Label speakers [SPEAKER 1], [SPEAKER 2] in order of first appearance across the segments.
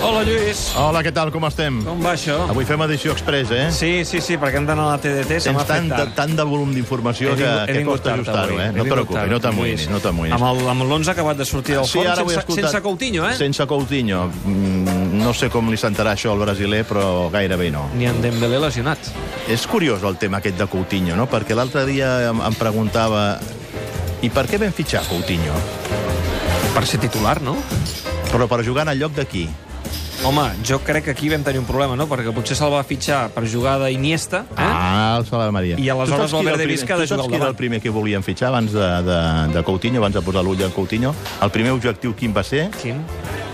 [SPEAKER 1] Hola, Lluís.
[SPEAKER 2] Hola, què tal, com estem?
[SPEAKER 1] Com va això?
[SPEAKER 2] Avui fem edició express, eh?
[SPEAKER 1] Sí, sí, sí, perquè hem d'anar a la TDT, se m'ha
[SPEAKER 2] Tens
[SPEAKER 1] fet
[SPEAKER 2] tant,
[SPEAKER 1] tard.
[SPEAKER 2] tant de volum d'informació
[SPEAKER 1] He
[SPEAKER 2] que,
[SPEAKER 1] vingut- he
[SPEAKER 2] que
[SPEAKER 1] vingut
[SPEAKER 2] costa
[SPEAKER 1] tard
[SPEAKER 2] ajustar-ho,
[SPEAKER 1] avui, he
[SPEAKER 2] eh? No et
[SPEAKER 1] vingut
[SPEAKER 2] preocupis,
[SPEAKER 1] tard,
[SPEAKER 2] no t'amoïnis,
[SPEAKER 1] Lluís.
[SPEAKER 2] no t'amoïnis. Ah,
[SPEAKER 1] Amb el- Amb l'11 acabat de sortir del
[SPEAKER 2] Sí,
[SPEAKER 1] forn,
[SPEAKER 2] ara ho he
[SPEAKER 1] sense,
[SPEAKER 2] escoltat.
[SPEAKER 1] sense Coutinho, eh?
[SPEAKER 2] Sense Coutinho. Mm, no sé com li sentarà això al brasiler, però gairebé no.
[SPEAKER 1] Ni en Dembélé lesionat.
[SPEAKER 2] És curiós el tema aquest de Coutinho, no? Perquè l'altre dia em, em preguntava... I per què vam fitxar Coutinho?
[SPEAKER 1] Per ser titular, no?
[SPEAKER 2] Però per jugar en el lloc d'aquí.
[SPEAKER 1] Home, jo crec que aquí vam tenir un problema, no? Perquè potser se'l va fitxar per jugar d'Iniesta, eh?
[SPEAKER 2] Ah, el Sala de Maria.
[SPEAKER 1] I aleshores
[SPEAKER 2] Tu saps qui era
[SPEAKER 1] Valverde
[SPEAKER 2] primer-
[SPEAKER 1] Vizca ha de
[SPEAKER 2] tu saps
[SPEAKER 1] jugar al
[SPEAKER 2] qui era el
[SPEAKER 1] davant.
[SPEAKER 2] primer que volien fitxar abans de, de, de Coutinho, abans de posar l'ull en Coutinho? El primer objectiu quin va ser?
[SPEAKER 1] Quin?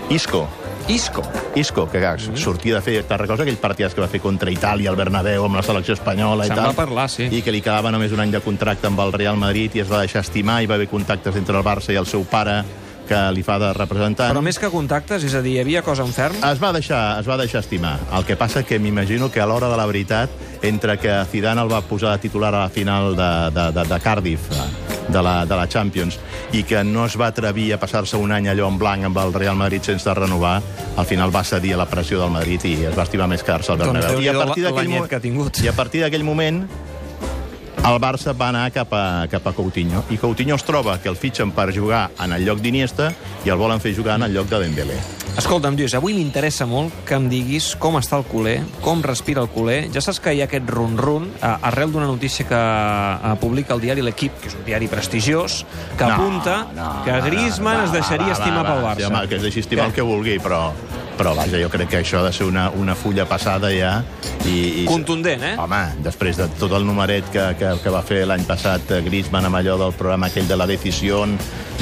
[SPEAKER 2] Isco.
[SPEAKER 1] Isco.
[SPEAKER 2] Isco, que clar,
[SPEAKER 1] Mm-hmm.
[SPEAKER 2] sortia de fer... Te'n recordes aquell partit que va fer contra Itàlia, el Bernabéu, amb la selecció espanyola i
[SPEAKER 1] Se'n
[SPEAKER 2] tal?
[SPEAKER 1] va parlar, sí.
[SPEAKER 2] I que li quedava només un any de contracte amb el Real Madrid i es va deixar estimar, hi va haver contactes entre el Barça i el seu pare, que li fa de representant.
[SPEAKER 1] Però més que contactes, és a dir, hi havia cosa en ferm?
[SPEAKER 2] Es va deixar, es va deixar estimar. El que passa que m'imagino que a l'hora de la veritat, entre que Zidane el va posar de titular a la final de, de, de, de Cardiff, de la, de la Champions, i que no es va atrevir a passar-se un any allò en blanc amb el Real Madrid sense renovar, al final va cedir a la pressió del Madrid i es va estimar més quedar-se al
[SPEAKER 1] Doncs
[SPEAKER 2] Bernabéu. I a
[SPEAKER 1] Déu-n'hi-do
[SPEAKER 2] partir d'aquell
[SPEAKER 1] l'anyet
[SPEAKER 2] mo-
[SPEAKER 1] que ha tingut.
[SPEAKER 2] I a partir d'aquell moment, el Barça va anar cap a, cap a Coutinho i Coutinho es troba que el fitxen per jugar en el lloc d'Iniesta i el volen fer jugar en el lloc de Dembélé.
[SPEAKER 1] Escolta'm, Lluís, avui m'interessa molt que em diguis com està el culer, com respira el culer. Ja saps que hi ha aquest run-run eh, arrel d'una notícia que eh, publica el diari L'Equip, que és un diari prestigiós, que
[SPEAKER 2] No,
[SPEAKER 1] apunta
[SPEAKER 2] no,
[SPEAKER 1] que Griezmann
[SPEAKER 2] no,
[SPEAKER 1] es deixaria estimar pel Barça.
[SPEAKER 2] Sí, home, que es deixi estimar
[SPEAKER 1] Què?
[SPEAKER 2] el que vulgui, però, però vaja, jo crec que això ha de ser una, una fulla passada ja. I, i...
[SPEAKER 1] Contundent, eh?
[SPEAKER 2] Home, després de tot el numeret que, que, que va fer l'any passat eh, Griezmann amb allò del programa aquell de la decisió,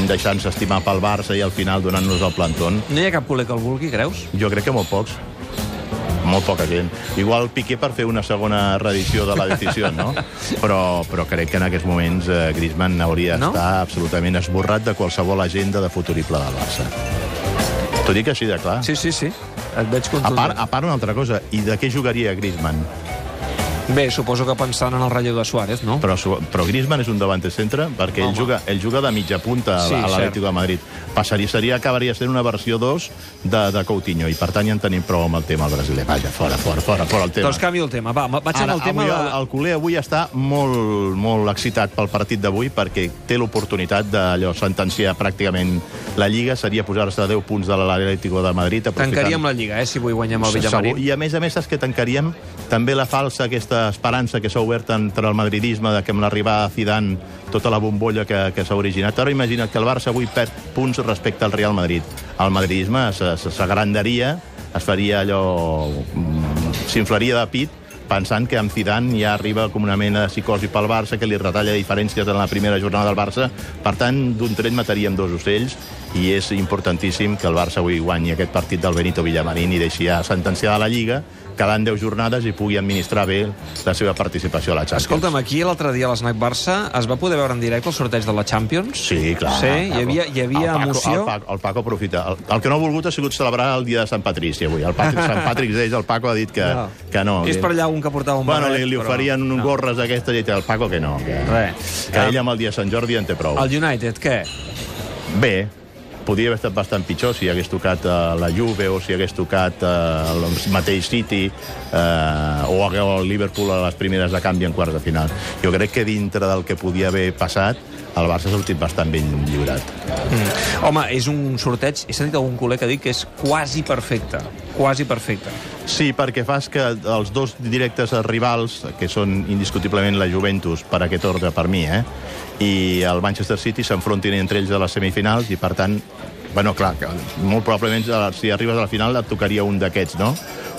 [SPEAKER 2] deixant-se estimar pel Barça i al final donant-nos el plantón,
[SPEAKER 1] No hi ha cap culer que el vulgui, creus?
[SPEAKER 2] jo crec que molt pocs. Molt poca gent. Igual Piqué per fer una segona reedició de la decisió, no? Però, però crec que en aquests moments eh, Griezmann hauria
[SPEAKER 1] No?
[SPEAKER 2] d'estar absolutament esborrat de qualsevol agenda de futurible del Barça. T'ho dic així de clar.
[SPEAKER 1] Sí, sí, sí. Et veig
[SPEAKER 2] A
[SPEAKER 1] contundent.
[SPEAKER 2] part, a part una altra cosa, i de què jugaria Griezmann?
[SPEAKER 1] Bé, suposo que pensant en el relleu de Suárez, no?
[SPEAKER 2] Però, su- però Griezmann és un davanter centre perquè ell
[SPEAKER 1] Home.
[SPEAKER 2] juga, ell juga de mitja punta a,
[SPEAKER 1] Sí,
[SPEAKER 2] sí, a l'Atlético
[SPEAKER 1] cert.
[SPEAKER 2] de Madrid. Passaria, seria, acabaria sent una versió 2 de, de Coutinho i per tant ja en tenim prou amb el tema al brasiler. Vaja, fora, fora, fora, fora el tema.
[SPEAKER 1] Doncs canvio el tema. Va, ma- vaig
[SPEAKER 2] Ara,
[SPEAKER 1] amb el tema
[SPEAKER 2] avui,
[SPEAKER 1] de...
[SPEAKER 2] el, el culer avui està molt, molt excitat pel partit d'avui perquè té l'oportunitat d'allò sentenciar pràcticament la Lliga, seria posar-se a 10 punts de l'Atlético de Madrid. aprofitant-
[SPEAKER 1] Tancaríem la Lliga, eh, si avui guanyem el
[SPEAKER 2] Segur.
[SPEAKER 1] Villamarín.
[SPEAKER 2] I a més a més saps que tancaríem també la falsa aquesta esperança que s'ha obert entre el madridisme de que amb l'arribada de Zidane tota la bombolla que, que s'ha originat. Ara imagina't que el Barça avui perd punts respecte al Real Madrid. El madridisme se- se- s'agrandaria, es faria allò... mm, s'inflaria de pit pensant que amb Zidane ja arriba com una mena de psicosi pel Barça que li retalla diferències en la primera jornada del Barça. Per tant, d'un tret mataríem dos ocells i és importantíssim que el Barça avui guanyi aquest partit del Benito Villamarín i deixi ja sentenciada la Lliga, quedant 10 jornades i pugui administrar bé la seva participació a la Champions.
[SPEAKER 1] Escolta'm, aquí l'altre dia a l'Snac Barça es va poder veure en directe el sorteig de la Champions?
[SPEAKER 2] Sí, clar.
[SPEAKER 1] Sí,
[SPEAKER 2] el Paco.
[SPEAKER 1] hi havia, hi havia
[SPEAKER 2] el Paco,
[SPEAKER 1] emoció.
[SPEAKER 2] El Paco, el Paco aprofita. El, el, que no ha volgut ha sigut celebrar el dia de Sant Patrici avui. El Patrick, Sant Patrick's Day, el Paco ha dit que no. Que no
[SPEAKER 1] És per allà un que portava un
[SPEAKER 2] Bueno, li,
[SPEAKER 1] barret,
[SPEAKER 2] li
[SPEAKER 1] però-
[SPEAKER 2] oferien un no. gorres d'aquestes i tal. El Paco que no. Que,
[SPEAKER 1] Res. Ah.
[SPEAKER 2] que ell amb el dia de Sant Jordi en té prou.
[SPEAKER 1] El United, què?
[SPEAKER 2] Bé, podria haver estat bastant pitjor si hagués tocat eh, la Juve o si hagués tocat eh, el mateix City eh, o el Liverpool a les primeres de canvi en quarts de final. Jo crec que dintre del que podia haver passat, el Barça ha sortit bastant ben lliurat.
[SPEAKER 1] Mm. Home, és un sorteig, he sentit algun col·lega dir que és quasi perfecte. Quasi perfecte.
[SPEAKER 2] Sí, perquè fas que els dos directes rivals, que són indiscutiblement la Juventus, per aquest ordre per mi, eh, i el Manchester City s'enfrontin entre ells a les semifinals i, per tant, bueno, clar, que molt probablement a la- si arribes a la final et tocaria un d'aquests, no?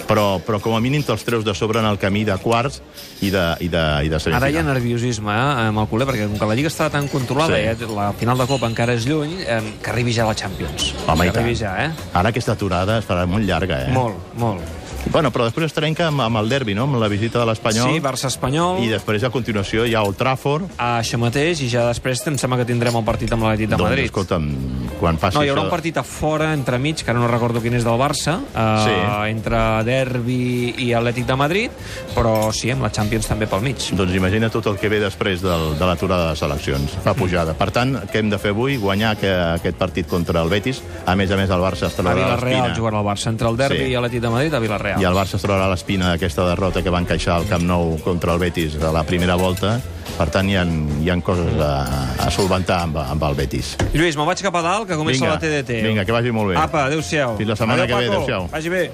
[SPEAKER 2] Però, però com a mínim te'ls treus de sobre en el camí de quarts i de, i de, i
[SPEAKER 1] Ara hi
[SPEAKER 2] de
[SPEAKER 1] ha
[SPEAKER 2] semifinals.
[SPEAKER 1] nerviosisme eh, amb el culer, perquè com que la Lliga està tan controlada
[SPEAKER 2] Sí.
[SPEAKER 1] i eh, la final de Copa encara és lluny, eh, que arribi ja la Champions.
[SPEAKER 2] Home, i
[SPEAKER 1] que arribi
[SPEAKER 2] tant.
[SPEAKER 1] ja, eh?
[SPEAKER 2] Ara aquesta aturada es farà molt llarga, eh?
[SPEAKER 1] Molt, molt.
[SPEAKER 2] Bueno, però després es trenca amb, amb el derbi, no? amb la visita de l'Espanyol.
[SPEAKER 1] Sí, Barça-Espanyol.
[SPEAKER 2] I després, a continuació, hi ha Old Trafford.
[SPEAKER 1] Això mateix, i ja després em sembla que tindrem el partit amb l'Atlètic de Madrid.
[SPEAKER 2] Doncs, escolta'm, quan passi
[SPEAKER 1] No, hi haurà
[SPEAKER 2] això...
[SPEAKER 1] un partit a fora, entre mig, que ara no recordo quin és del Barça, eh,
[SPEAKER 2] Sí.
[SPEAKER 1] entre Derbi i Atlètic de Madrid, però sí, amb la Champions també pel mig.
[SPEAKER 2] Doncs imagina tot el que ve després del, de l'aturada de les eleccions. Fa pujada. Per tant, què hem de fer avui? Guanyar que, aquest partit contra el Betis. A més a més, el Barça es
[SPEAKER 1] A
[SPEAKER 2] traurà
[SPEAKER 1] Villarreal
[SPEAKER 2] l'espina.
[SPEAKER 1] jugarà el Barça, entre el Derbi
[SPEAKER 2] Sí.
[SPEAKER 1] sí. i Atlètic de Madrid a Villarreal.
[SPEAKER 2] I el Barça es traurà l'espina d'aquesta derrota que van encaixar al Camp Nou contra el Betis de la primera volta. Per tant, hi ha, hi ha coses a, a solventar amb, amb el Betis.
[SPEAKER 1] Lluís, me'n vaig cap a dalt, que comença la TDT.
[SPEAKER 2] vinga, que vagi molt bé.
[SPEAKER 1] Apa, adéu-siau.
[SPEAKER 2] Fins la setmana
[SPEAKER 1] Adéu,
[SPEAKER 2] que ve,
[SPEAKER 1] Paco.
[SPEAKER 2] adéu-siau.
[SPEAKER 1] Vagi bé.